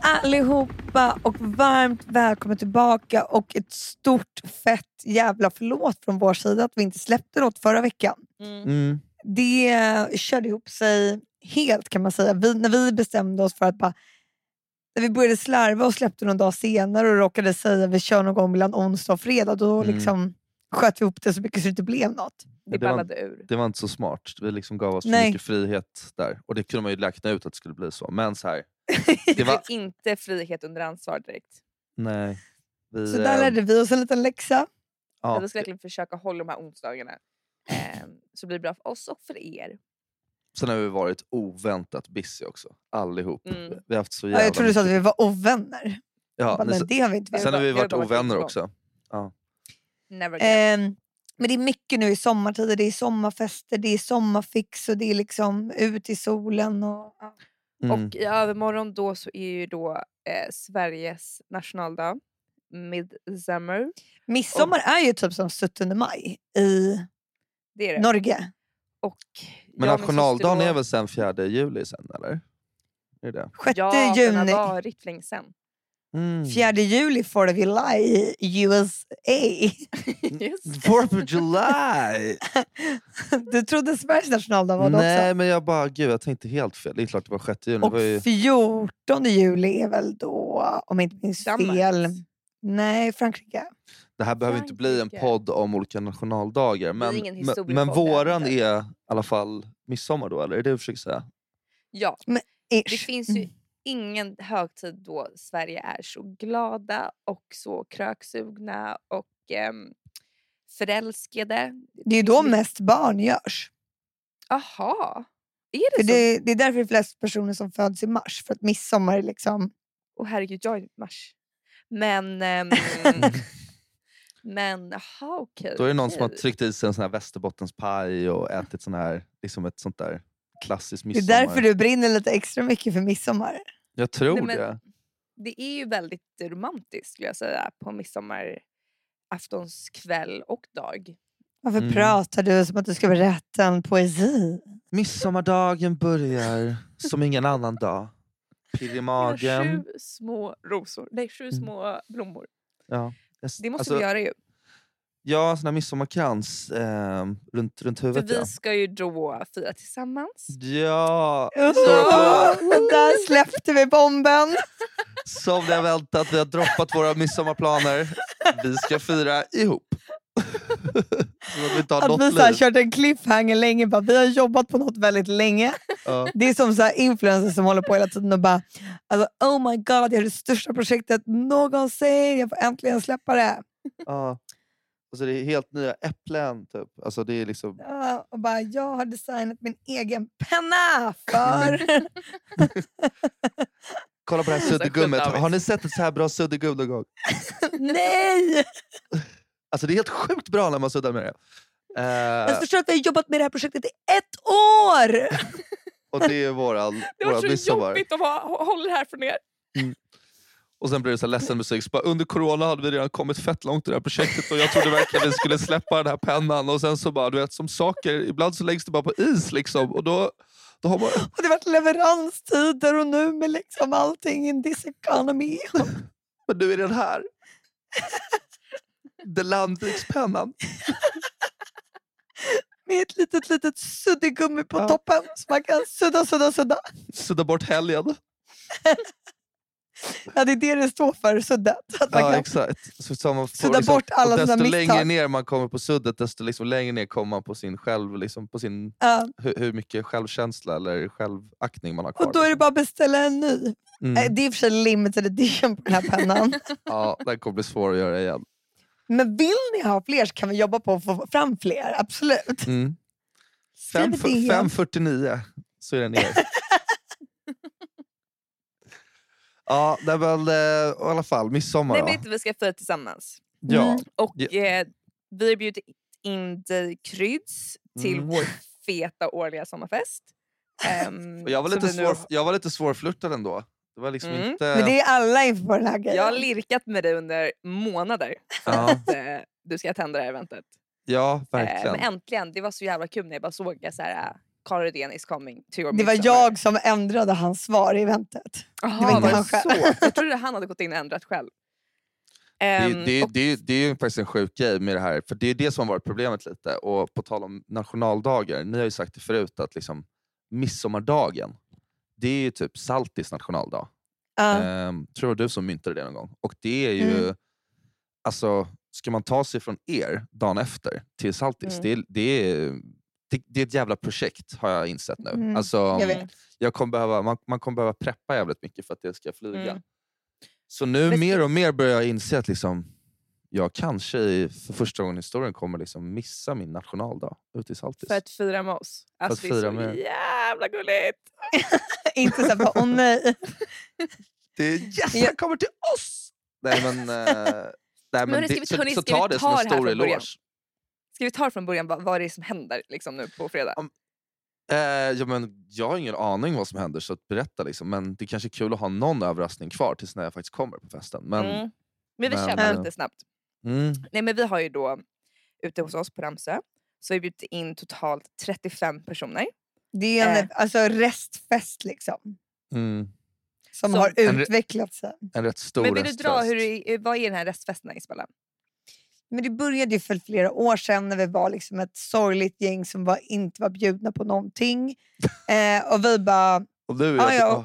allihopa och varmt välkommen tillbaka och ett stort fett jävla förlåt från vår sida att vi inte släppte något förra veckan. Mm. Det eh, körde ihop sig helt kan man säga. Vi, när vi bestämde oss för att bara när vi började slarva och släppte någon dag senare och råkade säga att vi kör någon gång mellan onsdag och fredag, då Mm. liksom sköt vi ihop det så mycket så det inte blev något. Det Det var- ballade ur. Det var inte så smart. Vi liksom gav oss Nej. för mycket frihet där. Och det kunde man ju räkna ut att det skulle bli så. Men så här, Det det var... var inte frihet under ansvar direkt. Nej. Vi, Så där eh, lärde vi oss en liten läxa. ja, Jag ska verkligen försöka hålla de här onsdagarna. ehm, Så blir det bra för oss och för er. Sen har vi varit oväntat busy också. Allihop. Mm. Vi har haft så jävla Ja, jag trodde du sa att mycket- vi var ovänner. ja, Bara, ni, men det har vi inte varit. Sen har vi Jag har varit bara varit ovänner igång. också. Never Eh, again. Ehm, men det är mycket nu i sommartider. Det är sommarfester, det är sommarfix och det är liksom ut i solen. Och, ja. Mm. Och i övermorgon då så är ju då eh, Sveriges nationaldag. Midsummer. Midsommar är ju typ som 17 maj i Det är det. Norge. och men jag och min nationaldagen är syster då- väl sen 4 juli sen eller? Är det? 6 Ja, den juni. har varit för länge sen. Mm. 4 juli, 4 July i USA. Mm. Just. 4th of July! Du trodde Sveriges nationaldag var det Nej men jag bara, gud jag tänkte helt fel. Det är klart det var 6 juni. också. Det var ju... Och 14 juli är väl då, om jag inte minns Danmark. fel. Nej, Frankrike. Det här behöver inte bli en Frankrike. podd om olika nationaldagar. Men, ingen men, historiepodd men än våran där. är i alla fall midsommar då, eller? Är det det du försöker säga? Ja, det Ish. finns ju Mm. ingen högtid då Sverige är så glada och så kröksugna och ehm, förälskade. Det är ju då finns mest barn görs. Aha, är För det så? det, det är därför det är flest personer som föds i mars. För att midsommar är liksom... Åh herregud, jag är mars. Men... ehm, men aha, okej. Då är det någon som har okej. tryckt i sig en sån här västerbottenspaj och ätit sån här, liksom ett sånt där klassiskt Det är midsommar. därför du brinner lite extra mycket för midsommar. Jag tror Nej, men- det. Det är ju väldigt romantiskt skulle jag säga på midsommaraftonskväll och dag. Varför Mm. pratar du som att du ska berätta en poesi? Midsommardagen börjar som ingen annan dag. Pirr i Jag har magen. sju små rosor, nej sju Mm. små blommor. Ja. Jag- Det måste alltså, vi göra ju. Ja, sån här midsommarkrans ehm, runt, runt För huvudet. vi ska ju då fira tillsammans. Ja, Oh, Står på- där släppte vi bomben! som vi har väntat. Vi har droppat våra midsommarplaner. Vi ska fira ihop. Så att vi inte har Att något vi så här, liv. kört en cliffhanger länge. Bara, vi har jobbat på något väldigt länge. Ja. Det är som så här influencers som håller på hela tiden och bara alltså, “Oh my god, jag har det största projektet någonsin. Jag får äntligen släppa det.” Ja. Alltså det är helt nya äpplen typ. Alltså det är liksom... Ja, och bara, jag har designat min egen penna för... Kolla på det här Så suddgummet. skönt, David. Har ni sett ett så här bra suddgum någon gång? Nej! Alltså det är helt sjukt bra när man suddar med det. Eh, Jag Alltså, förstår att vi har jobbat med det här projektet i ett år! och det är våran, Det våran var så midsommar. jobbigt att ha- hålla det här från er. Och sen blir det så här ledsen musik. Så bara, under corona hade vi redan kommit fett långt i det här projektet och jag trodde verkligen vi skulle släppa den här pennan. Och sen så bara, du vet som saker, ibland så läggs det bara på is liksom. Och då, då har man... Och det har varit leveranstider och nu med liksom allting in this economy. Men nu är den här. The Landvikspennan. Med ett litet, litet suddigummi på Ja. toppen så man kan sudda, sudda, sudda. Sudda bort helgen. Ja, det är det det står för, suddet. Att man Ja, kan exakt. Så, så man får sudda bort alla och sina desto längre misstag. ner man kommer på suddet, desto liksom längre ner kommer man på sin själv, liksom på sin, Ja, hur, hur mycket självkänsla eller självaktning man har kvar. och då är det liksom. bara att beställa en ny. Eh, mm. Det är i och för sig limited edition på den här pennan. ja, den kommer bli svår att göra igen. Men vill ni ha fler så kan vi jobba på att få fram fler. Absolut. Mm. Skriv Fem- ett DM. 5.49 så är den ner. ja, det är väl eh, i alla fall midsommar Nej, va? men inte vi ska fira tillsammans. Ja, Mm. Och Ja. eh, vi har bjudit in dig Kryds till Mm. vår feta årliga sommarfest. Ehm, och jag, var som lite vi nu har- svår, jag var lite svårflörtad ändå. Det var liksom Mm. inte... Men det är alla inför den här grejen. Jag har lirkat med dig under månader ja, att eh, du ska tända det här eventet. ja, Eh, men verkligen. äntligen, det var så jävla kul när jag bara såg att så här, Carl Rydén is coming to your Det var Midsommar." jag som ändrade hans svar i eventet. Jaha, inte var han det själv. så? Jag trodde han hade gått in och ändrat själv. Det, Ehm, det, och- det, det är ju faktiskt en sjuk grej med det här, för det är det som har varit problemet lite. Och på tal om nationaldagar, ni har ju sagt det förut att liksom, midsommardagen, det är ju typ Saltis nationaldag. Ja. Mm. Ehm, tror jag du som myntade det någon gång. Och det är ju, alltså, ska man ta sig från er dagen efter till Saltis, Mm. det, det, är, det, det är ett jävla projekt har jag insett nu. Mm, Alltså, jag vet. jag kommer behöva, man, man kommer behöva preppa jävligt mycket för att det ska flyga. Mm. Så nu Precis. mer och mer börjar jag inse att liksom, jag kanske i- för första gången i historien kommer liksom missa min nationaldag ute i Saltis. För att fira med oss. Alltså, att fira det är med- så jävla gulligt! Inte så här, bara, åh nej. Det är gästerna Ja. Alltså, kommer till oss! Nej, men, eh, nej, men hörni, det- ska vi- så, hörni, så ska vi ta det som ta det en stor här från eloge. början? Ska vi ta det från början vad, vad det är som händer liksom, nu på fredag? Eh, ja, men, jag har ingen aning vad som händer, så att berätta. Liksom. Men det är kanske är kul att ha någon överraskning kvar tills när jag faktiskt kommer på festen. Men, Mm. Men vi men- känner Ja. lite snabbt. mm, Nej, men vi har ju då ute hos oss på Ramsö så har vi bjudit in totalt 35 personer. Det är en Eh. alltså, restfest liksom, mm, som Som- har En re- utvecklat sig. en rätt stor men vill du dra, restfest. hur, det är- vad är den här restfesten Isabella? Men det började ju för flera år sedan när vi var liksom ett sorgligt gäng som var, inte var bjudna på någonting. Eh, och vi bara, Och nu är Ah, jag, ja.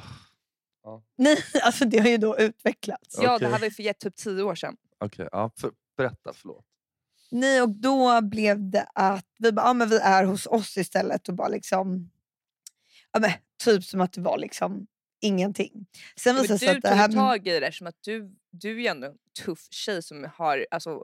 åh, nej, alltså det har ju då utvecklats. Ja, det Okej. här var ju för typ 10 år sedan. okej, ja, för, berätta, förlåt. Nej, och då blev det att vi bara, ah, men vi är hos oss istället och bara liksom, ja, men, typ som att det var liksom ingenting. Sen visade Men du det sig att tog det här... tag i det eftersom att du, du är ju ändå en tuff tjej som har alltså,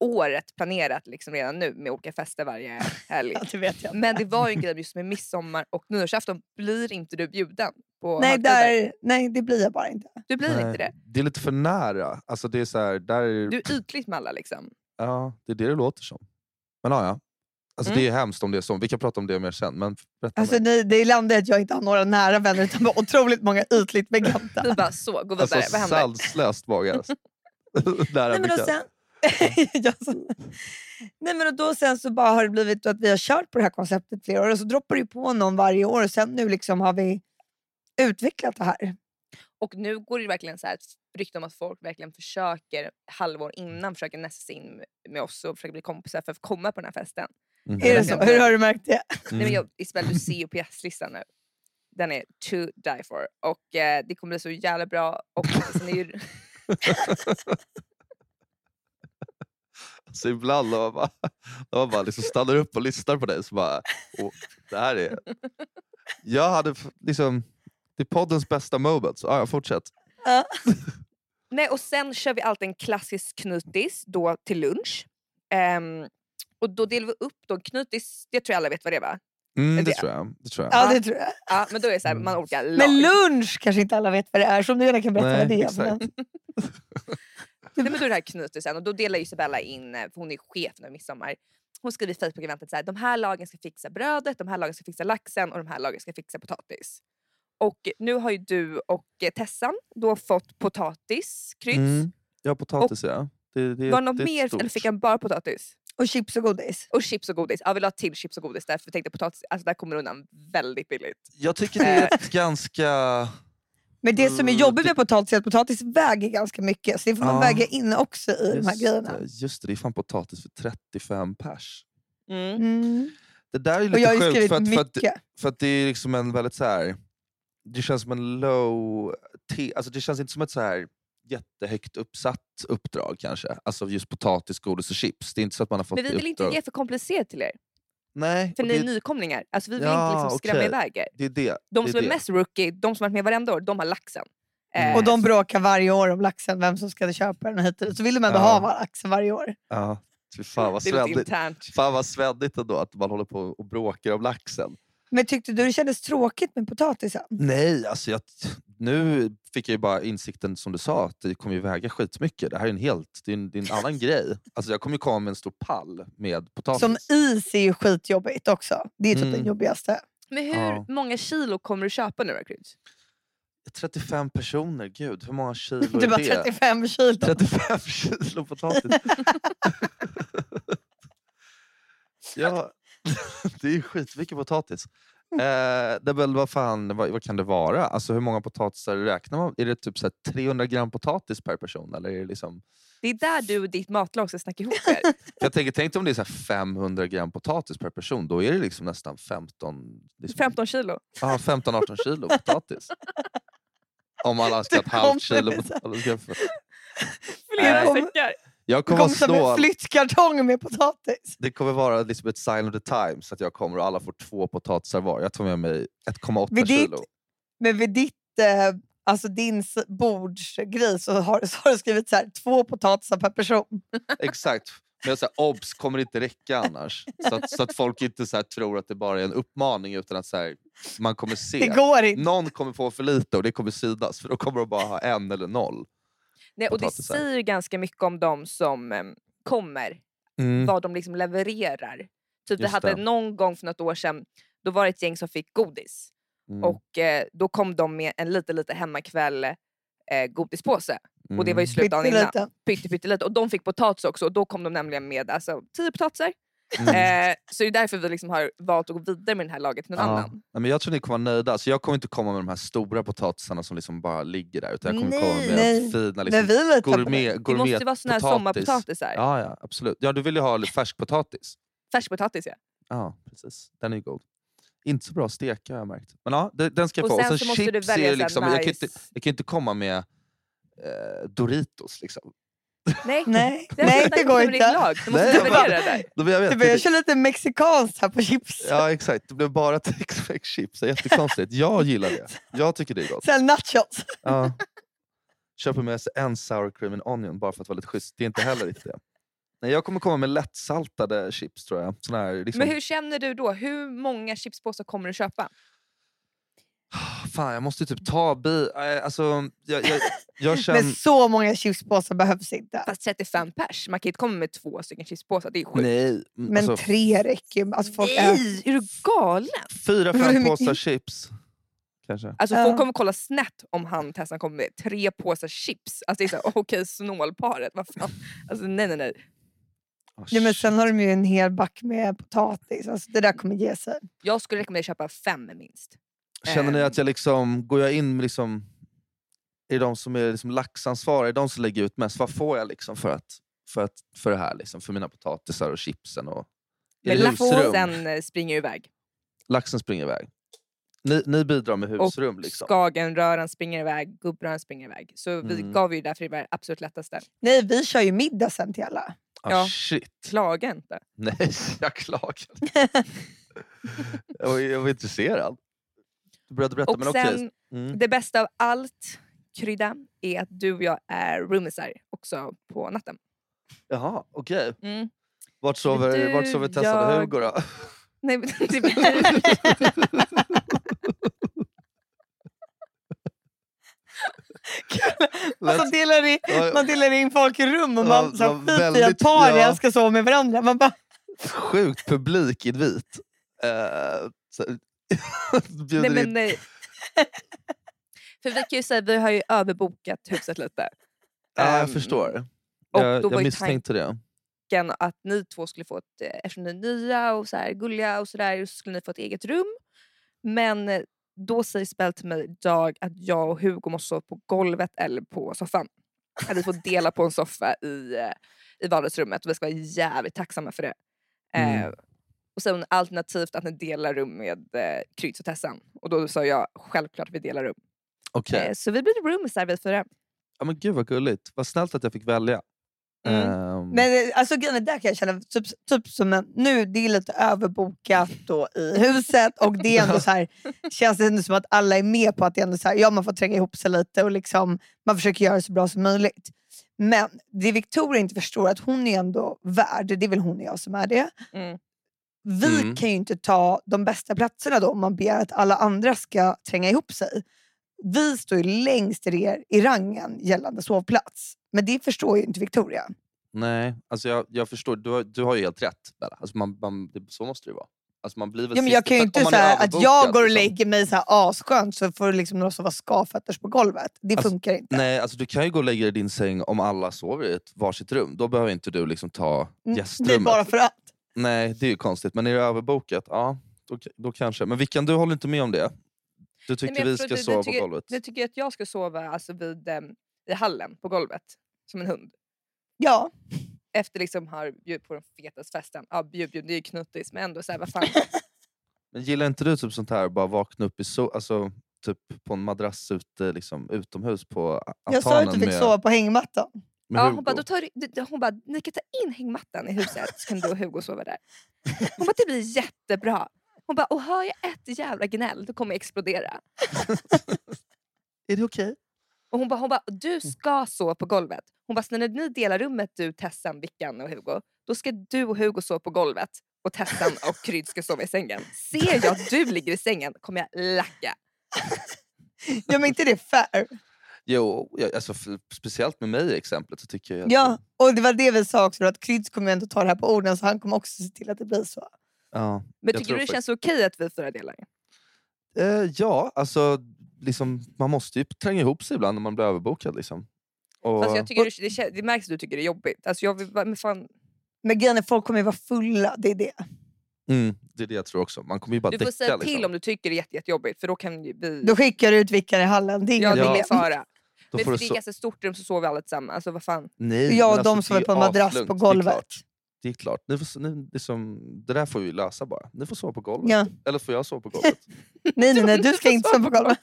året planerat liksom redan nu med olika fester varje helg. Ja, det vet jag. inte. Men det var ju en grej just med midsommar och nyårsafton blir inte du bjuden på Nej, högtider. där, nej, det blir jag bara inte. Du blir Nej, inte det. Det är lite för nära. Alltså det är så här, där är, Du är ytligt med alla liksom. ja, det är det det låter som. Men ja, ja. Alltså Mm. Det är hemskt om det är så. Vi kan prata om det mer sen. Men berätta Alltså, mer. nej, det landade i att jag inte har några nära vänner utan bara otroligt många ytligt bekanta. Du bara så, gå vidare. alltså, Vad händer? sanslöst många. Nära Nej, men och bekant. alltså, sen, jag som- Nej, men och då sen så bara har det blivit att vi har kört på det här konceptet flera år och så droppar det ju på någon varje år och sen nu liksom har vi utvecklat det här. Och nu går det verkligen så här ett rykte om att folk verkligen försöker halvår innan försöker nästa sig in med oss och försöker bli kompisar för att komma på den här festen. Mhm. Är det så? Hur har du märkt det? Mm. Nej, men jag, Isabel, du ser ju på gästlistan nu. Den är to die for. Och eh, det kommer bli så jävla bra. Och sen är ju... Alltså, ibland när man bara, när man bara liksom stannar upp och lyssnar på dig så bara... Åh, det här är... Jag hade f- liksom... Det är poddens bästa moment. Så, ja, fortsätt. Nej, och sen kör vi alltid en klassisk knutis då till lunch. Ehm, och då delar vi upp då, knutis, det tror jag alla vet vad det är va? Mm, det, Det- tror jag. Det tror jag. Ja, det tror jag. Ja, men då är det så här, Mm. man har olika lag. Men lunch kanske inte alla vet vad det är, som du gärna kan berätta vad Nej, det är. exakt. men- Nej, men då är det här knutisen och då delar Isabella in, eh, för hon är chef nu midsommar. Hon skriver i Facebook-eventet så här, de här lagen ska fixa brödet, de här lagen ska fixa laxen och de här lagen ska fixa potatis. Och nu har ju du och eh, Tessan då fått potatis, kryds. Mm. Jag har potatis, ja. Det, det, Var det något det är mer stort. eller fick han bara potatis? Och chips och godis. Och chips och godis. Jag vill ha till chips och godis där för jag tänkte potatis, alltså där kommer du undan väldigt billigt. Jag tycker det är ett ganska... Men det som är Mm, jobbigt det- med potatis är att potatis väger ganska mycket, så det får man Ja. väga in också i de här Just grejerna. det, just det, det är fan potatis för 35 pers. Mm. Det där är ju Och jag har lite ju sjukt skrivit för att, för, att, mycket. för att det är liksom en väldigt så här. Det känns som en low... T, alltså det känns inte som ett så här jättehögt uppsatt uppdrag kanske. Alltså just potatis, godis och chips. Det är inte så att man har fått Men vi det vill inte uppdrag- ge för komplicerat till er, Nej, för och ni det, är nykomlingar. Alltså vi vill Ja, inte liksom skrämma okej. iväg er. det är det. De det är som är det. mest rookie, de som varit med varenda år, de har laxen. Eh, Mm. Och de bråkar varje år om laxen, vem som ska köpa den och hit och dit. Så vill de ändå Ja. ha laxen varje år. Ja, fy fan vad det är lite sveddigt. internt. Fan vad sveddigt ändå att man håller på och bråkar om laxen. Men tyckte du det kändes tråkigt med potatisen? Nej, alltså jag, nu fick jag ju bara insikten som du sa, att det kommer ju väga skitmycket. Det här är en helt, det är en, det är en annan grej. Alltså jag kommer ju komma med en stor pall med potatis. Som is är ju skitjobbigt också. Det är typ Mm. den jobbigaste. Men hur Ja. många kilo kommer du köpa nu då, Kryds? 35 personer, gud hur många kilo Det är var det? 35 Typ kilo. 35 kilo potatis. ja, det är ju skitmycket potatis. Eh, det är väl, vad fan, vad, vad kan det vara? Alltså hur många potatisar räknar man? Är det typ så här 300 gram potatis per person? Eller är det liksom... Det är där du och ditt matlag ska snacka ihop er. För jag tänker, tänk om det är så här 500 gram potatis per person. Då är det liksom nästan 15... Liksom, 15 kilo. Ja, 15-18 kilo potatis. Om alla ska ha ett Du halvt kommer kilo med så här- potatis. Jag får- Flera Äh. säckar. Jag Det kommer kom att som en slå... flyttkartong med potatis. Det kommer vara liksom ett sign of the times att jag kommer och alla får två potatisar var. Jag tar med mig 1,8 Vid ditt- kilo. Men vid ditt, eh, alltså din s- bordsgrej så har, så har du skrivit så här, två potatisar per person. Exakt. Men jag säger, obs, kommer inte räcka annars. Så att, så att folk inte så här, tror att det bara är en uppmaning utan att så här, man kommer Det se. går inte. Någon kommer få för lite och det kommer synas för då kommer de bara ha en eller noll. Nej, och det Potatisar. säger ju ganska mycket om dem som eh, kommer vad de liksom levererar. Typ Mm. vi Just hade det. någon gång för något år sedan, då var det ett gäng som fick godis. Mm, Och eh, då kom de med en lite lite hemmakväll eh, godispåse. Och det var ju mm, slut dagen innan. Pyttelite. Pytte, pyttelite. Och de fick potatis också och då kom de nämligen med alltså, tio potatisar. mm. Eh, så det är därför vi liksom har valt att gå vidare med den här laget till någon Ja. annan. Nej, men jag tror ni kommer vara nöjda. Så jag kommer inte komma med de här stora potatisarna som liksom bara ligger där. Utan jag kommer Nej, komma med nej. fina När liksom, vi litar på dig. gourmet, Det måste ju gourmet vara såna här potatis. sommarpotatisar. Ja, ja, absolut. Ja, du vill ju ha lite färskpotatis. Färskpotatis ja. Ja, precis. Den är ju god. Inte så bra att steka har jag märkt. Men ja, det- den ska jag Och få. sen så måste du chips är välja ju så här liksom, jag, kan ju nice- inte, jag kan ju inte komma med eh, Doritos. Liksom. Nej, Nej, det, här nej snackar det vi går om i ditt inte. Lag. Du måste Nej, jag bara- leverera där. Då vill Jag Du vet, börjar det, köra lite mexikanskt här på chips. ja, exakt. Det blev bara tex-mex chips. Det är Jättekonstigt. Jag gillar det. Jag tycker det är gott. Sen nachos. Ja. Köper med sig en sour cream and onion bara för att vara lite schysst. Det är inte heller riktigt det. Nej, jag kommer komma med lättsaltade chips tror jag. Såna här, liksom, Men hur känner du då? Hur många chipspåsar kommer du köpa? Fan, jag måste ju typ ta bi... Nej, Alltså, jag, jag, jag känner... Men så många chipspåsar behövs inte. Mm, Fast 35 pers. Man kan inte komma med två stycken chipspåsar. Det är sjukt. Nej, mm, Men alltså, tre räcker ju. Alltså folk är... Nej, är du galen? Fyra, Hur fem mycket? påsar chips. Kanske. Alltså Ja. folk kommer kolla snett om han Tessan kommer med tre påsar chips. Alltså det är såhär, okej snålparet, vad fan. Alltså nej nej nej. Ah, Ja, men shit. sen har de ju en hel back med potatis. Alltså, det där kommer ge sig. Jag skulle rekommendera att köpa fem minst. Känner ni ehm. att jag liksom, går jag in med liksom, i de som är liksom laxansvariga, de som lägger ut mest, vad får jag liksom för, att, för, att, för det här? Liksom, för mina potatisar och chipsen? Och, är Men det husrum? laxen eh, springer ju iväg. Laxen springer iväg. Ni, ni bidrar med Och husrum. Liksom. skagenröran springer iväg, gubbröran springer iväg. Så vi Mm. gav ju därför det var det absolut lättaste. Nej, vi kör ju middag sen till alla. Ah, ja. Shit, Klaga inte. nej jag klagar. jag, var, jag var intresserad. Du började berätta, Och men okej. sen, Mm. det bästa av allt, krydda, är att du och jag är roomisar också på natten. Jaha, okej. Mm. Vart sover, du, vart sover Tessan och jag- Hugo då? Nej, men det blir... Alltså, delar i, Ja, man delar in folk i rum och Ja, man ja, man skiter i att väldigt- paren ja. ska sova med varandra. Man bara, sjukt publikinvit. Uh, bjuder Nej, men in nej. För vi kan ju säga vi har ju överbokat huset lite. Ja, Ehm, jag förstår. och jag då var jag ju misstänkte det. Tanken att ni två skulle få ett, eh, eftersom ni är nya och så här, gulliga och sådär, så skulle ni få ett eget rum. Men eh, då säger Spel till mig idag att jag och Hugo måste sova på golvet eller på soffan. Att vi får dela på en soffa i, eh, i vardagsrummet och vi ska vara jävligt tacksamma för det. Eh, Mm. och sen alternativt att ni delar rum med eh, Kryds och Tessan. Och då sa jag självklart att vi delar rum. Okej. Eh, Så vi blir roomisar vi fyra. Ja, men gud vad gulligt. Vad snällt att jag fick välja. Mm. Ehm, men eh, alltså, grejen är, där kan jag känna, typ, typ som en, nu det är lite överbokat då i huset och det är ändå så här, känns det ändå som att alla är med på att det är ändå så här, ja, man får tränga ihop sig lite och liksom, man försöker göra det så bra som möjligt. Men det Victoria inte förstår är att hon är ändå värd, det är väl hon och jag som är det. Mm. Vi Mm. kan ju inte ta de bästa platserna då om man begär att alla andra ska tränga ihop sig. Vi står ju längst ner i rangen gällande sovplats. Men det förstår ju inte Victoria. Nej, alltså jag, jag förstår. Du har, du har ju helt rätt Bella. Alltså man, man, det, så måste det ju vara. Alltså man blir väl Ja, men sist jag i kan ju fem- inte om man är säga att jag överbokad, går och liksom. lägger mig så här asskönt så får liksom några sova skavfötters på golvet. Det Alltså, funkar inte. Nej, alltså du kan ju gå och lägga dig i din säng om alla sover i ett varsitt rum. Då behöver inte du liksom ta Mm, Det är gästrummet. bara för att. Nej, det är ju konstigt. Men är det överbokat? Ja, då, då kanske. Men Vickan, du håller inte med om det? Du tycker men jag vi tror ska du- du sova på tycker- golvet? Nu tycker jag att jag ska sova alltså, vid, em, i hallen på golvet som en hund. Ja. Efter liksom har bjudit på den fetaste festen. Ja, bjud, bjud, det är ju knuttis men ändå så här, vad fan. Men gillar inte du typ sånt här, bara vakna upp i so- alltså, typ på en madrass ute, liksom, utomhus på a- Jag sa altanen att du fick med, sova på hängmattan. med Ja, Hugo? hon bara, då tar, du- d- d- hon bara, ni kan ta in hängmattan i huset så kan du och Hugo sova där. Hon bara, det blir jättebra. Hon bara, och hör jag ett jävla gnäll då kommer jag explodera. Är det okej? Mm. Och hon bara, hon bara, du ska sova på golvet. Hon bara, så när ni delar rummet du, Tessan, Vickan och Hugo, då ska du och Hugo sova på golvet och Tessan och Kryd ska sova i sängen. Ser jag att du ligger i sängen kommer jag lacka. Ja, men inte det fair? Jo, jag, alltså, f- speciellt med mig i exemplet så tycker jag att... Ja, och det var det vi sa också, då, att Kryds kommer ju ändå ta det här på orden så han kommer också se till att det blir så. Ja. Men Jag tycker tror du det känns okej att vi fyra delar? Eh, ja, alltså liksom, man måste ju tränga ihop sig ibland när man blir överbokad. Liksom. Och, Fast Alltså, jag tycker det, det, kän- det märks att du tycker det är jobbigt. Alltså jag vill, bara- men fan, Men grejen är folk kommer ju vara fulla, det är det. mm, det är det jag tror också. Man kommer ju bara du däcka. får säga liksom. till om du tycker det är jätte, jättejobbigt för då kan ju vi... Då skickar du ut Vickan i hallen, det är Ja, inga det är ingen problem. fara. Då Men får du för det är so- ett ganska stort rum så sover vi alla tillsammans. Alltså vad fan. Nej, Jag men och de alltså, som är det på ju en madrass aslugnt, på det är golvet. klart. Det är klart. Ni får, ni, liksom, det där får vi lösa bara. Ni får sova på golvet. Ja. Eller får jag sova på golvet? Nej, nej, nej, Du du ska inte får sova på golvet.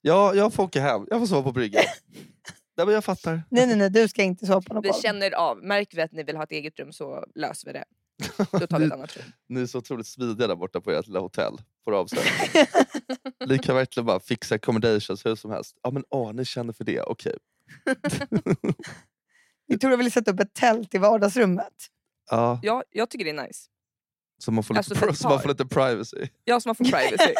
ja, jag får åka hem. Jag får sova på bryggan. Nej, men jag fattar. Nej, nej, nej, du ska inte sova på något Vi golv. känner av. Märker vi att ni vill ha ett eget rum så löser vi det. Då tar vi ett annat rum. Ni är så otroligt smidiga där borta på ert lilla hotell. Får av sig. ni kan verkligen bara fixa accommodations hur som helst. Ja, men åh, ni känner för det. Okej. Vi tror jag ville sätta upp ett tält i vardagsrummet. Ja, Ja, jag tycker det är nice. så man får lite, Alltså, för ett så man par. får lite privacy. Jag som har fått privacy.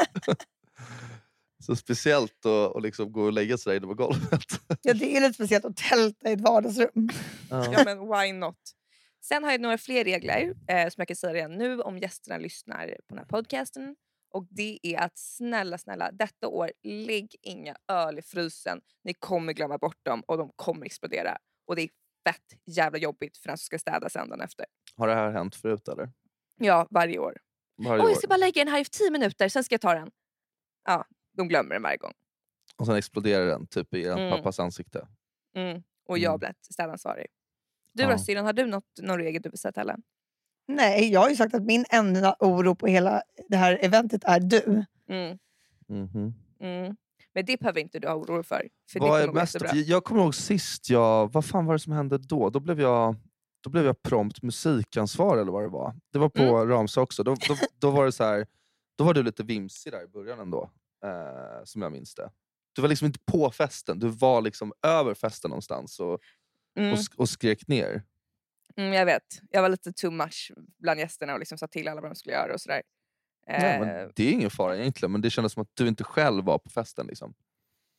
Så speciellt att att liksom gå och lägga sig där inne på golvet. Ja, det är lite speciellt att tälta i ett vardagsrum. Ja, men why not? Sen har jag några fler regler eh, som jag kan säga redan nu om gästerna lyssnar på den här podcasten. Och det är att snälla, snälla, detta år lägg inga öl i frysen. Ni kommer glömma bort dem och de kommer explodera. Och det är fett jävla jobbigt för den som ska städa sen dagen efter. Har det här hänt förut eller? Ja, varje år. Varje Oj, år. jag ska bara lägga den här i tio minuter, sen ska jag ta den. Ja, de glömmer den varje gång. Och sen exploderar den typ i er Mm. pappas ansikte. Mm. Och Mm. jag blir städansvarig. Du Ja. då syrran, har du något, någon regel du vill säga till alla? Nej, jag har ju sagt att min enda oro på hela det här eventet är du. Mm. Mhm. Mm. Men det behöver inte du ha oro för. för Vad det är kommer mest, mest bra. jag kommer ihåg sist jag... Vad fan var det som hände då? Då blev jag, då blev jag prompt musikansvarig eller vad det var. Det var på Mm. Ramsö också. Då, då, då var det så här, då var du lite vimsig där i början ändå. Eh, som jag minns det. Du var liksom inte på festen. Du var liksom över festen någonstans och, Mm. och, sk- och skrek ner. Mm, jag vet, jag var lite too much bland gästerna och liksom sa till alla vad de skulle göra och sådär. Nej, Eh, men det är ingen fara egentligen, men det kändes som att du inte själv var på festen. Liksom.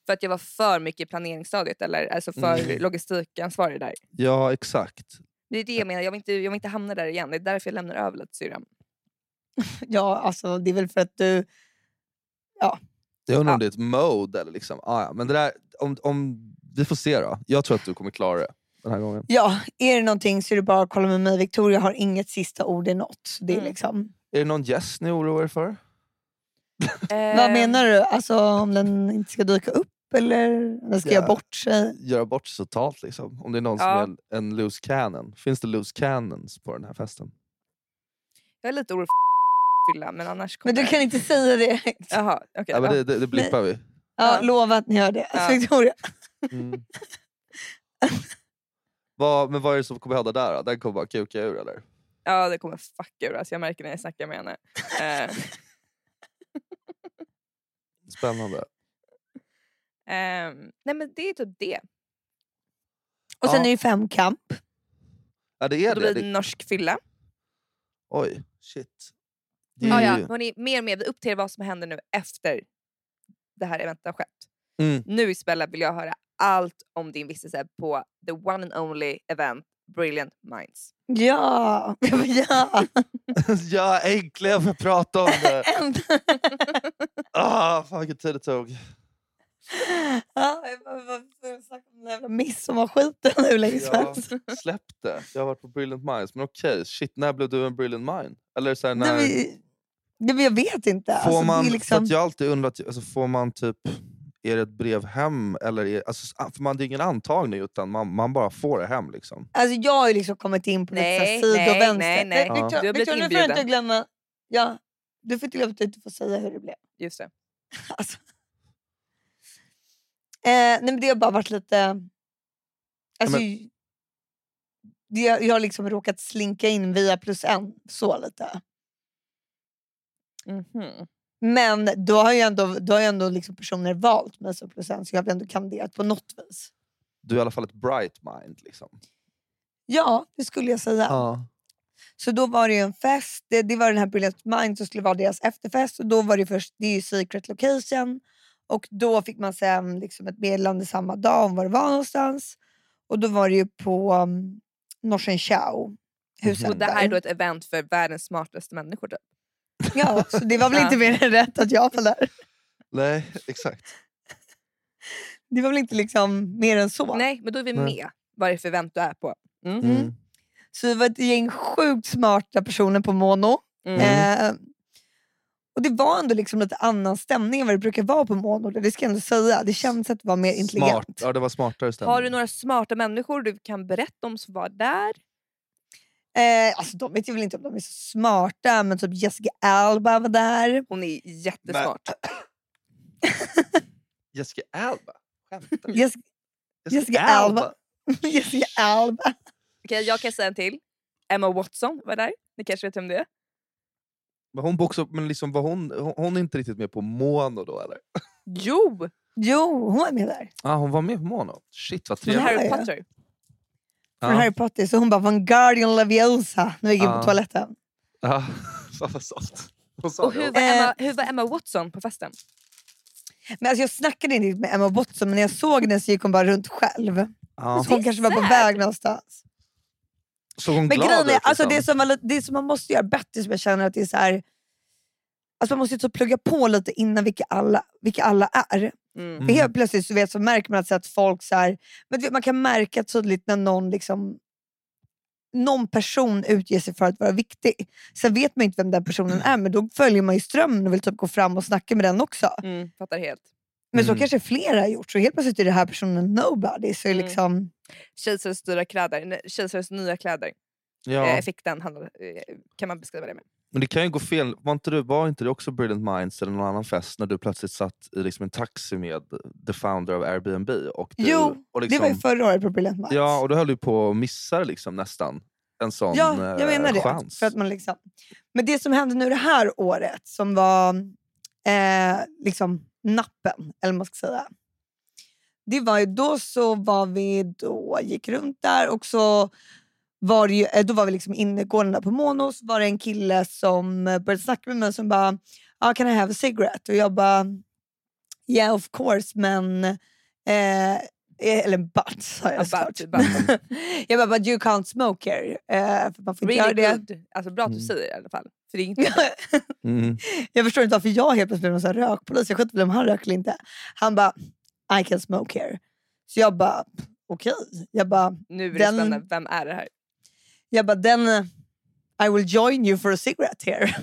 För att jag var för mycket i planeringsstadiet, eller alltså för Mm. logistikansvarig där. Ja, exakt. Det är det jag menar, jag vill, inte, jag vill inte hamna där igen. Det är därför jag lämnar över lite syrran. Ja, alltså det är väl för att du... Jag undrar Ja. om det är ett mode eller liksom. Ah, ja. Men det där, om, om, vi får se då. Jag tror att du kommer klara det den här gången. Ja, är det någonting så är det bara att kolla med mig. Victoria har inget sista ord i något. Så det är Mm. liksom... Är det någon gäst ni oroar er för? Ehm. Vad Eh, menar du? Alltså om den inte ska dyka upp eller den ska Ja. göra bort sig? Göra bort sig totalt liksom. Om det är någon Ja. som är en loose cannon. Finns det loose cannons på den här festen? Jag är lite orolig för fylla, men annars kommer... Men du kan inte säga det. Ja, Jaha, okej. Ja, men det, det, det blippar vi. ja. Lova att ni gör det. Ja. Victoria. Mm. vad, men vad är det som kommer hända där då? Den kommer bara kuka ur eller? Ja, det kommer fuck ur. Alltså, jag märker när jag snackar med henne. Eh, Spännande. ehm, nej, men det är typ det. Och sen Ja. är det femkamp. Ja, det är Då det. blir det det norsk fylla. Oj, shit. Det Ja, är ja. ju- Hörrni, mer och mer. Vi uppdaterar vad som händer nu efter det här eventet har skett. Mm. Nu Isabella vill jag höra allt om din vistelse på the one and only event Brilliant Minds. Ja! ja. ja, äntligen får jag prata om det. Änt- Ah, fan vilken tid det tog. ja, jag bara- varför snackar vi om den här jävla midsommarskiten hur länge som Ja. helst? Släpp det. Jag har varit på Brilliant Minds. Men okej, shit, när blev du en Brilliant Mind? Eller så här, när... Nej, men- Nej, men jag vet inte. Får Alltså, det är man, för liksom- att jag har alltid undrat, alltså, får man typ, är det ett brev hem? Eller är, alltså, för man, det är ingen antagning, utan man, man bara får det hem. Liksom. Alltså jag har ju liksom kommit in på lite så här Nej, sidovänster. nej, nej, nej. Ja. Victor- Du har blivit Victor, nu får du inbjuden. inte glömma. Ja, du får inte glömma att du inte får säga hur det blev. Just det. Alltså. Eh, nej men det har bara varit lite... Alltså, det, jag har liksom råkat slinka in via plus en. Så lite. Mhm. Men då har ju ändå, då har ju ändå liksom personer valt mig som plus en så jag har ändå kandiderat på något vis. Du är i alla fall ett bright mind. Liksom. Ja, det skulle jag säga. Ja. Så då var det ju en fest. Det, det var den här Brilliant Minds som skulle vara deras efterfest. Och då var det ju först, det är ju Secret Location. Och då fick man sen liksom ett meddelande samma dag om var det var någonstans. Och då var det ju på um, Norsen Chow. Huset Och det här där. är då ett event för världens smartaste människor. typ. Då. Ja, så det var väl Ja. inte mer än rätt att jag var där. Nej, exakt. Det var väl inte liksom mer än så. Nej, men då är vi Nej. med vad det är för event du är på. Mm. Mm. Så vi var ett gäng sjukt smarta personer på Mono. Mm. Eh, och det var ändå liksom lite annan stämning än vad det brukar vara på Mono. Det ska jag ändå säga. Det kändes att det var mer intelligent. Smart. Ja, det var smartare stämning. Har du några smarta människor du kan berätta om som var där? Eh, alltså de vet ju väl inte om de är så smarta, men typ Jessica Alba var Mm. där. Hon är jättesmart. Jessica Alba? Skämtar du? Jes- Jessica Alba. Jessica Alba. Okej, jag kan säga en till. Emma Watson var där. Ni kanske vet vem det är? Men hon, boxar, men liksom, var hon, hon, hon är inte riktigt med på mono då eller? Jo! Jo, hon är med där. Ah, hon var med på mono? Shit vad Hon trevligt. här- Harry ja. Potter. Från Harry Potter. Så hon bara “Van Guardian Leviosa” när vi gick in Ah. på toaletten. Ja. Fan vad sålt. Hon sa Och det hur också. var, Eh. Emma, hur var Emma Watson på festen? Men alltså, jag snackade inte riktigt med Emma Watson, men när jag såg henne så gick hon bara runt själv. Ja. Så hon kanske var på Dessert. väg någonstans. Såg hon Men glad grejen ut? är, alltså, liksom? det, som man, det som man måste göra bättre som jag känner att det är så här, alltså, man måste ju så plugga på lite innan vilka alla, vilka alla är. Mm. För helt plötsligt så, vet, så märker man att, så att folk... Så här, men du vet, man kan märka tydligt när någon, liksom, någon person utger sig för att vara viktig. Sen vet man ju inte vem den personen är, men då följer man ju strömmen och vill typ gå fram och snacka med den också. Mm, fattar helt. Men så Mm. kanske flera har gjort, så helt plötsligt är den här personen nobody. Så är Mm. liksom, Kejsarens dyra kläder. nej, Kejsarens nya kläder. Eh, ja. effekten handlade, eh, kan man beskriva det med. Men det kan ju gå fel. Var inte, du, var inte det också Brilliant Minds eller någon annan fest när du plötsligt satt i liksom en taxi med the founder av Airbnb? Och du, Jo, och det liksom, var ju förra året på Brilliant Minds. Ja, och du höll ju på att missa det liksom nästan en sån Ja, eh, jag menar det. chans. För att man liksom... Men det som hände nu det här året, som var eh, liksom nappen, eller vad man ska säga. Det var ju då så var vi då gick runt där och så var det ju, eh, då var vi liksom innergården där på Monos. var det en kille som eh, började snacka med mig som bara ah, “Can I have a cigarette?” och jag bara “Yeah of course men...” eh, eh, Eller “but” sa jag About, såklart. about. jag bara “But you can't smoke here”. Eh, för man får inte Really göra det. good. Alltså bra att du Mm. säger det i alla fall. För det är inte... Mm. jag förstår inte varför jag helt plötsligt blev någon sån här rökpolis. Jag skiter väl om han röker eller inte. Han bara, I can smoke here. Så jag bara, okej. Jag bara, Nu är det Den- spännande. Vem är det här? jag bara, then eh, I will join you for a cigarette here.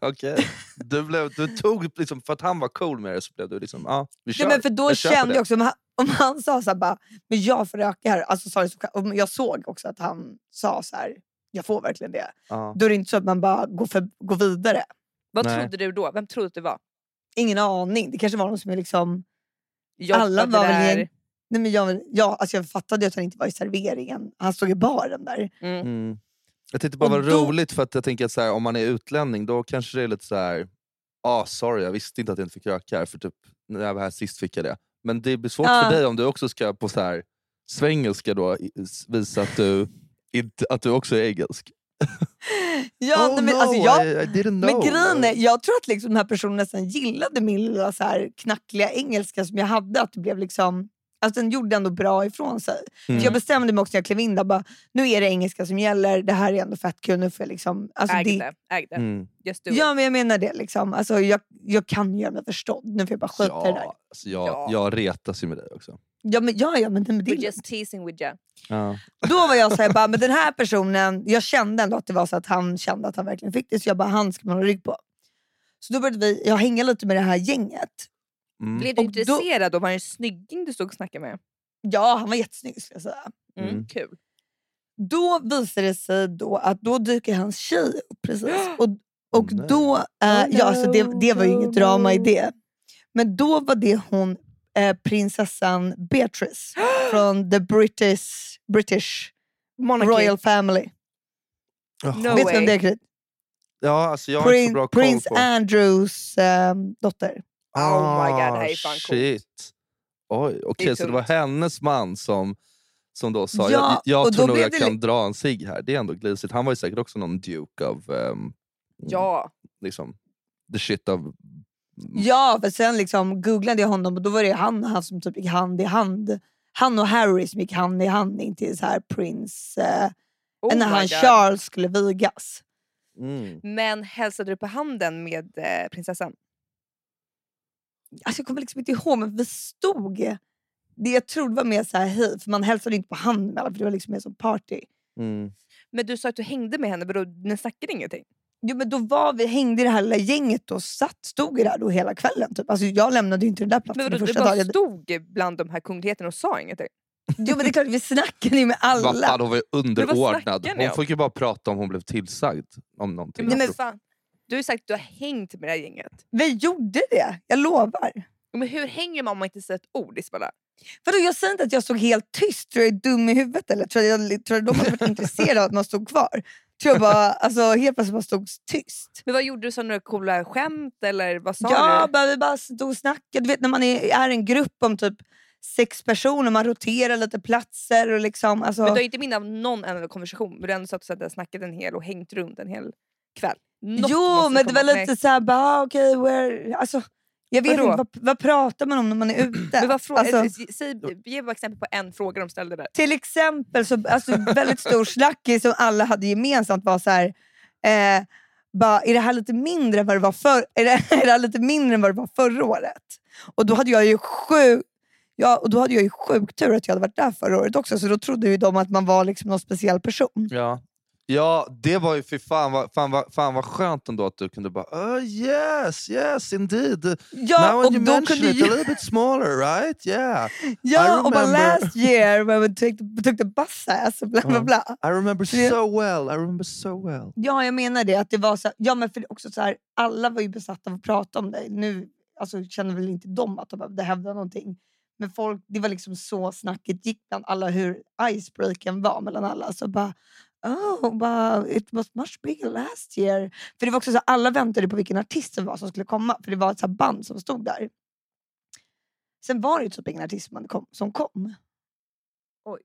Okej. Du, blev, du tog, liksom, för att han var cool med det så blev du liksom, ja vi kör. Nej, men för då Jag köper kände det. jag också, om han, om han sa så här, bara, men jag får röka här. Alltså, sa det så, om jag såg också att han sa så här, jag får verkligen det. Ja. Då är det inte så att man bara går, för, går vidare. Vad Nej. trodde du då? Vem trodde att du var? Ingen aning. Det kanske var någon som är liksom... Jag Alla var väl där. gäng- Nej, men jag, jag, alltså jag fattade ju att han inte var i serveringen. Han stod i baren där. Mm. Mm. Jag tyckte bara det Och var då- roligt för att jag tänker att så här, om man är utlänning då kanske det är lite så här. ah sorry jag visste inte att jag inte fick röka här för typ när jag var här sist fick jag det. Men det blir svårt Ja. för dig om du också ska på så här svengelska då i- s- visa att du, inte, att du också är engelsk. Ja, oh nej, men, no, alltså, jag, I, I didn't know. men grejen är, jag tror att liksom den här personen nästan gillade min lilla så här knackliga engelska som jag hade. Att det blev liksom, alltså den gjorde ändå bra ifrån sig. Mm. För jag bestämde mig också när jag klev in där, bara, nu är det engelska som gäller, det här är ändå fett kul. Nu får jag liksom, alltså Ägde. det, Ägde. Mm. Just du. ja, men jag menar det. Liksom. Alltså, jag, jag kan ju göra mig förstådd, nu får jag bara skita i det där. Ja, alltså, jag, Ja. jag retas ju med dig också. Ja, men, ja, ja, men, det- men det är We're just teasing with you. Ja. Då var jag så här, bara, men den här personen, jag kände ändå att det var så att han kände att han verkligen fick det. Så jag bara, han ska man ha rygg på. Så då började vi, jag hänga lite med det här gänget. Mm. Blev du Och då- intresserad? Då... Var det en snygging du stod och snackade med? Ja, han var jättesnygg skulle jag säga. Mm, Mm. Kul. Då visar det sig då att då dyker hans tjej upp precis. Och, och nej. då, eh, ja, alltså no, det, det var ju Oh, no, inget drama i no. det. Men då var det hon eh, prinsessan Beatrice från the British, British Monarchy. Royal Family. Jaha. No Vet du vem way. det är? Krit? Ja, alltså jag har inte så bra Prin- koll Prins på... Mm. Andrews ehm, dotter. Oh my god, det här är Ah, fan coolt. Shit. Oj, okej, Det är så det tungt. var hennes man som, som då Ja, sa, jag, jag och tror då nog blev jag det kan dra en sig här. Det är ändå glisigt. Han var ju säkert också någon duke av ehm, Ja. liksom, the shit mm, av... Ja, för sen liksom googlade jag honom och då var det han och han som typ gick hand i hand. Han och Harry som gick hand i hand in till så här prins... Eh, Oh när my han God. Charles skulle vigas. Mm. Men hälsade du på handen med eh, prinsessan? Alltså jag kommer liksom inte ihåg, men vi stod... Det jag tror det var mer så här hej, för man hälsade inte på handen med alla för det var liksom mer som party. Mm. Men du sa att du hängde med henne, vadå, ni snackade ingenting? Jo, men då var vi, hängde i det här lilla gänget och satt, stod ju där då hela kvällen. Typ. Alltså, jag lämnade ju inte den där platsen Men den vadå, du första bara dagen. stod bland de här kungligheterna och sa ingenting? Jo, men det är klart, vi snackade ju med alla. Vad fan, hon var ju underordnad. snackar ni Hon om? fick ju bara prata om hon blev tillsagd. Om någonting. Alltså. Nej, men Apropå- fan. Du har ju sagt att du har hängt med det här gänget. Vi gjorde det, jag lovar. Men hur hänger man om man inte säger ett ord Isabella? Vadå, jag säger inte att jag stod helt tyst. Tror jag är dum i huvudet eller? Tror jag, jag tror jag de hade varit intresserade av att man stod kvar? Tror jag bara, alltså helt plötsligt bara stod tyst. Men vad gjorde du? Sa några coola skämt eller vad sa Ja, du? bara, vi bara stod och snackade. Du vet när man är, är en grupp om typ sex personer, man roterar lite platser och liksom... Alltså, Men du har ju inte minne av någon enda konversation. Men du har ändå satt och så där snackat en hel och hängt runt en hel kväll. Något jo, måste men det komma- var nej. lite såhär, bara, ah, okej, where... Alltså, jag vet Vadå? inte, vad, vad pratar man om när man är ute? Men vad frå- alltså, eh, säg, ge bara exempel på en fråga de ställde där. till exempel, så, alltså, väldigt stor snackis som alla hade gemensamt var så här... Eh, bara, är det här lite mindre än vad det var, för, är det, är det här lite mindre än vad det var förra året? Och då hade jag ju sjuk, ja, och då hade jag ju sjuk tur att jag hade varit där förra året också, så då trodde ju de att man var liksom någon speciell person. Ja. Ja, det var ju fy fan vad, fan, vad, fan vad skönt ändå att du kunde bara oh, yes, yes indeed. Ja, Now och you då mention kunde it, a ju, little bit smaller right? Yeah. I ja, och bara remember. last year when we took, the- took the bus ass, bla bla Ja. bla. I remember Det- so well, I remember so well. Ja, jag menar det. Att det var så här, ja, men för det är också så här, alla var ju besatta av att prata om dig. Nu alltså, känner väl inte de att de behövde hävda någonting. Men folk, det var liksom så snacket gick bland alla hur icebreaken var mellan alla. Så bara, oh, bara, it was much bigger last year. För det var också så här, alla väntade på vilken artist som var som skulle komma. För det var ett så här band som stod där. Sen var det ju typ ingen artist man kom, som kom. Oj.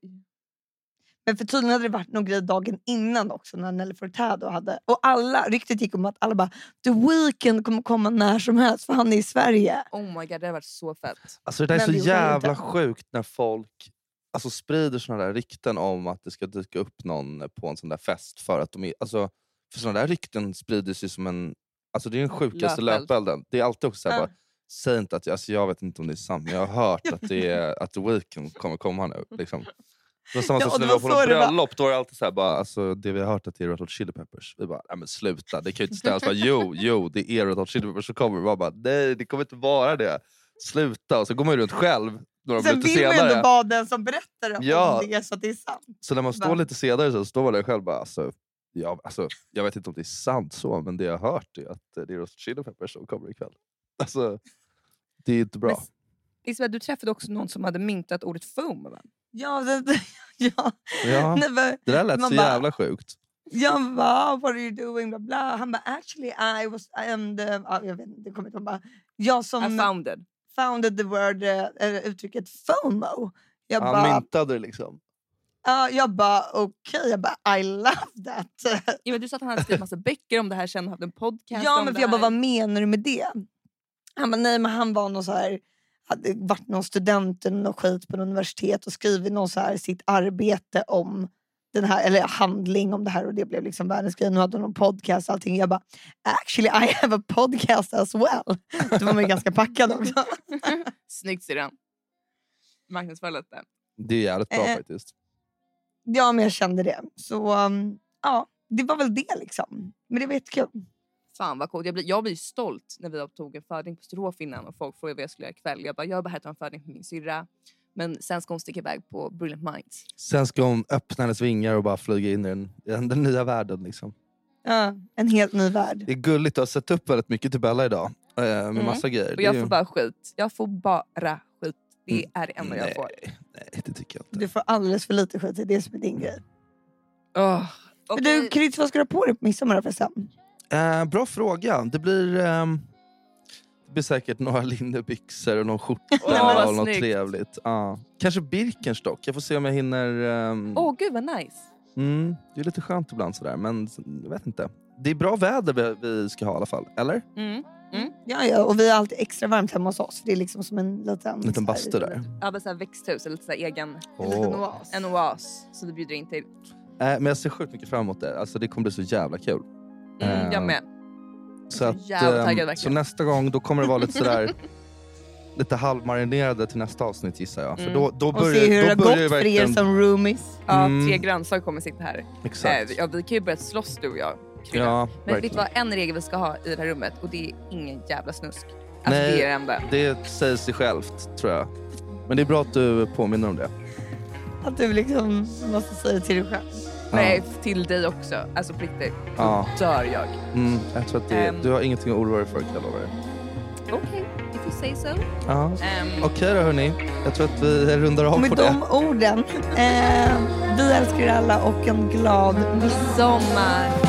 Men för tydligen hade det varit någon grej dagen innan också när Nelly Furtado hade... Och alla, ryktet gick om att alla bara “The Weeknd kommer komma när som helst för han är i Sverige”. Oh my god, det har varit så fett. Alltså det där är Men så det gjorde jag jävla inte. sjukt när folk alltså, sprider såna där rykten om att det ska dyka upp någon på en sån där fest. För att de är, alltså, för såna där rykten sprids ju som en... Alltså det är den sjukaste Löpeld. löpelden. Det är alltid också såhär, Ja. bara, säg inte att jag, alltså, jag vet inte om det är sant, men jag har hört att, det är, att The Weeknd kommer komma nu. Liksom. Det var samma Ja, sak och som när det vi var var på så något det var. bröllop. Då var det alltid så här, bara, alltså, det vi har hört att det är Red Hot Chili Peppers. Vi bara, nej men sluta. Det kan ju inte ställas. Bara, jo, jo, det är Red Hot Chili Peppers som kommer. Vi bara, bara, nej, det kommer inte vara det. Sluta. Och så går man ju runt själv några Sen minuter vill man ju senare. ändå vara den som berättar Ja. om det så att det är sant. Så när man står Va? lite senare så står man där själv bara, alltså, ja, alltså, jag vet inte om det är sant så, men det jag har hört är att eh, det är Red Hot Chili Peppers som kommer ikväll. Alltså, det är inte bra. Men- Isabel, du träffade också någon som hade myntat ordet foam. Va? Ja, det, ja. Ja. Nej, men, Det där lät Man så bara- jävla sjukt. jag bara "Ah, “What are you doing?” bla, bla. Han bara “Actually I was...” I am the, ja, jag vet inte, det kommer inte ihåg. Han bara, Jag I som found it. founded the word, eh, eh, uttrycket FOMO. Jag Han bara, myntade det liksom. ja, jag bara okej, jag bara “I love that”. Ja, men du sa att han hade skrivit massa böcker om det här sen och haft en podcast Ja, om men det för jag bara, här. vad menar du med det? Han bara, nej men han var någon så här, hade varit någon student eller någon skit på något universitet och skrivit någon så här, sitt arbete om den här, eller handling om det här och det blev liksom världens grej. Nu hade han någon podcast och allting. Jag bara, actually I have a podcast as well. Då var man ju ganska packad också. Snyggt syrran. Marknadsför lite. Det är jävligt bra Eh. faktiskt. Ja, men jag kände det. Så um, ja, det var väl det liksom. Men det var jättekul. Fan vad coolt. Jag blir, jag blir stolt när vi tog en födning på Sturehof innan och folk frågade vad jag skulle göra ikväll. Jag bara, jag bara här tar en födning för min syrra. Men sen ska hon sticka iväg på Brilliant Minds. Sen ska hon öppna hennes vingar och bara flyga in i den, i den, den nya världen. Liksom. Ja, en helt ny värld. Det är gulligt, du har sett upp väldigt mycket till Bella idag. eh, Med Mm. massa grejer. Och Det är jag ju- får bara skit. Jag får bara skit. Det Mm. är det enda nej, jag får. Nej, det tycker jag inte. Du får alldeles för lite skit, det är det som är din grej. Åh. Och Men vi- Du, Kryds, vad ska du ha på dig på midsommar då förresten? Eh, bra fråga. Det blir, ehm, det blir säkert några linnebyxor och någon skjorta. Åh, vad och något snyggt. trevligt. Ja. Kanske Birkenstock. Jag får se om jag hinner... ehm, Åh gud vad nice. mm, det är lite skönt ibland sådär, men s- jag vet inte. Det är bra väder vi, vi ska ha i alla fall. Eller? Mm. Ja, ja, och vi har alltid extra varmt hemma hos oss. För det är liksom som en liten... En liten bastu där. Ja, men så här växthus eller lite så här egen En liten Åh. oas. en oas som du bjuder in till. Eh, men jag ser sjukt mycket fram emot det. Alltså, det kommer bli så jävla kul. Mm, Eh, Jag med. Så, Jag är så att, jävla ehm, taggad verkligen. så nästa gång då kommer det vara lite sådär... lite halvmarinerade till nästa avsnitt gissar jag. För Mm. då, då Och börjar, se hur det har då gått börjar ju för er verkligen... som roomies. Ja, Mm. tre grannsaker kommer sitta här. Exakt. Eh, ja, vi kan ju börja slåss du och jag. Krille. Ja, Men vet verkligen. du vad en regel vi ska ha i det här rummet och det är ingen jävla snusk. Alltså Nej. det är det enda. Det säger sig självt, tror jag. Men det är bra att du påminner om det. Att du liksom måste säga det till dig själv. Nej, till dig också. Alltså på riktigt. Då Ja. dör jag. Mm, jag tror att det, Ehm. Du har ingenting att oroa dig för, kan jag lova dig. Okej, if you say so. Ja. Ehm, Okej då, hörni. Jag tror att vi rundar av Och med på de det. orden. Eh, vi älskar er alla och en glad midsommar. Midsommar.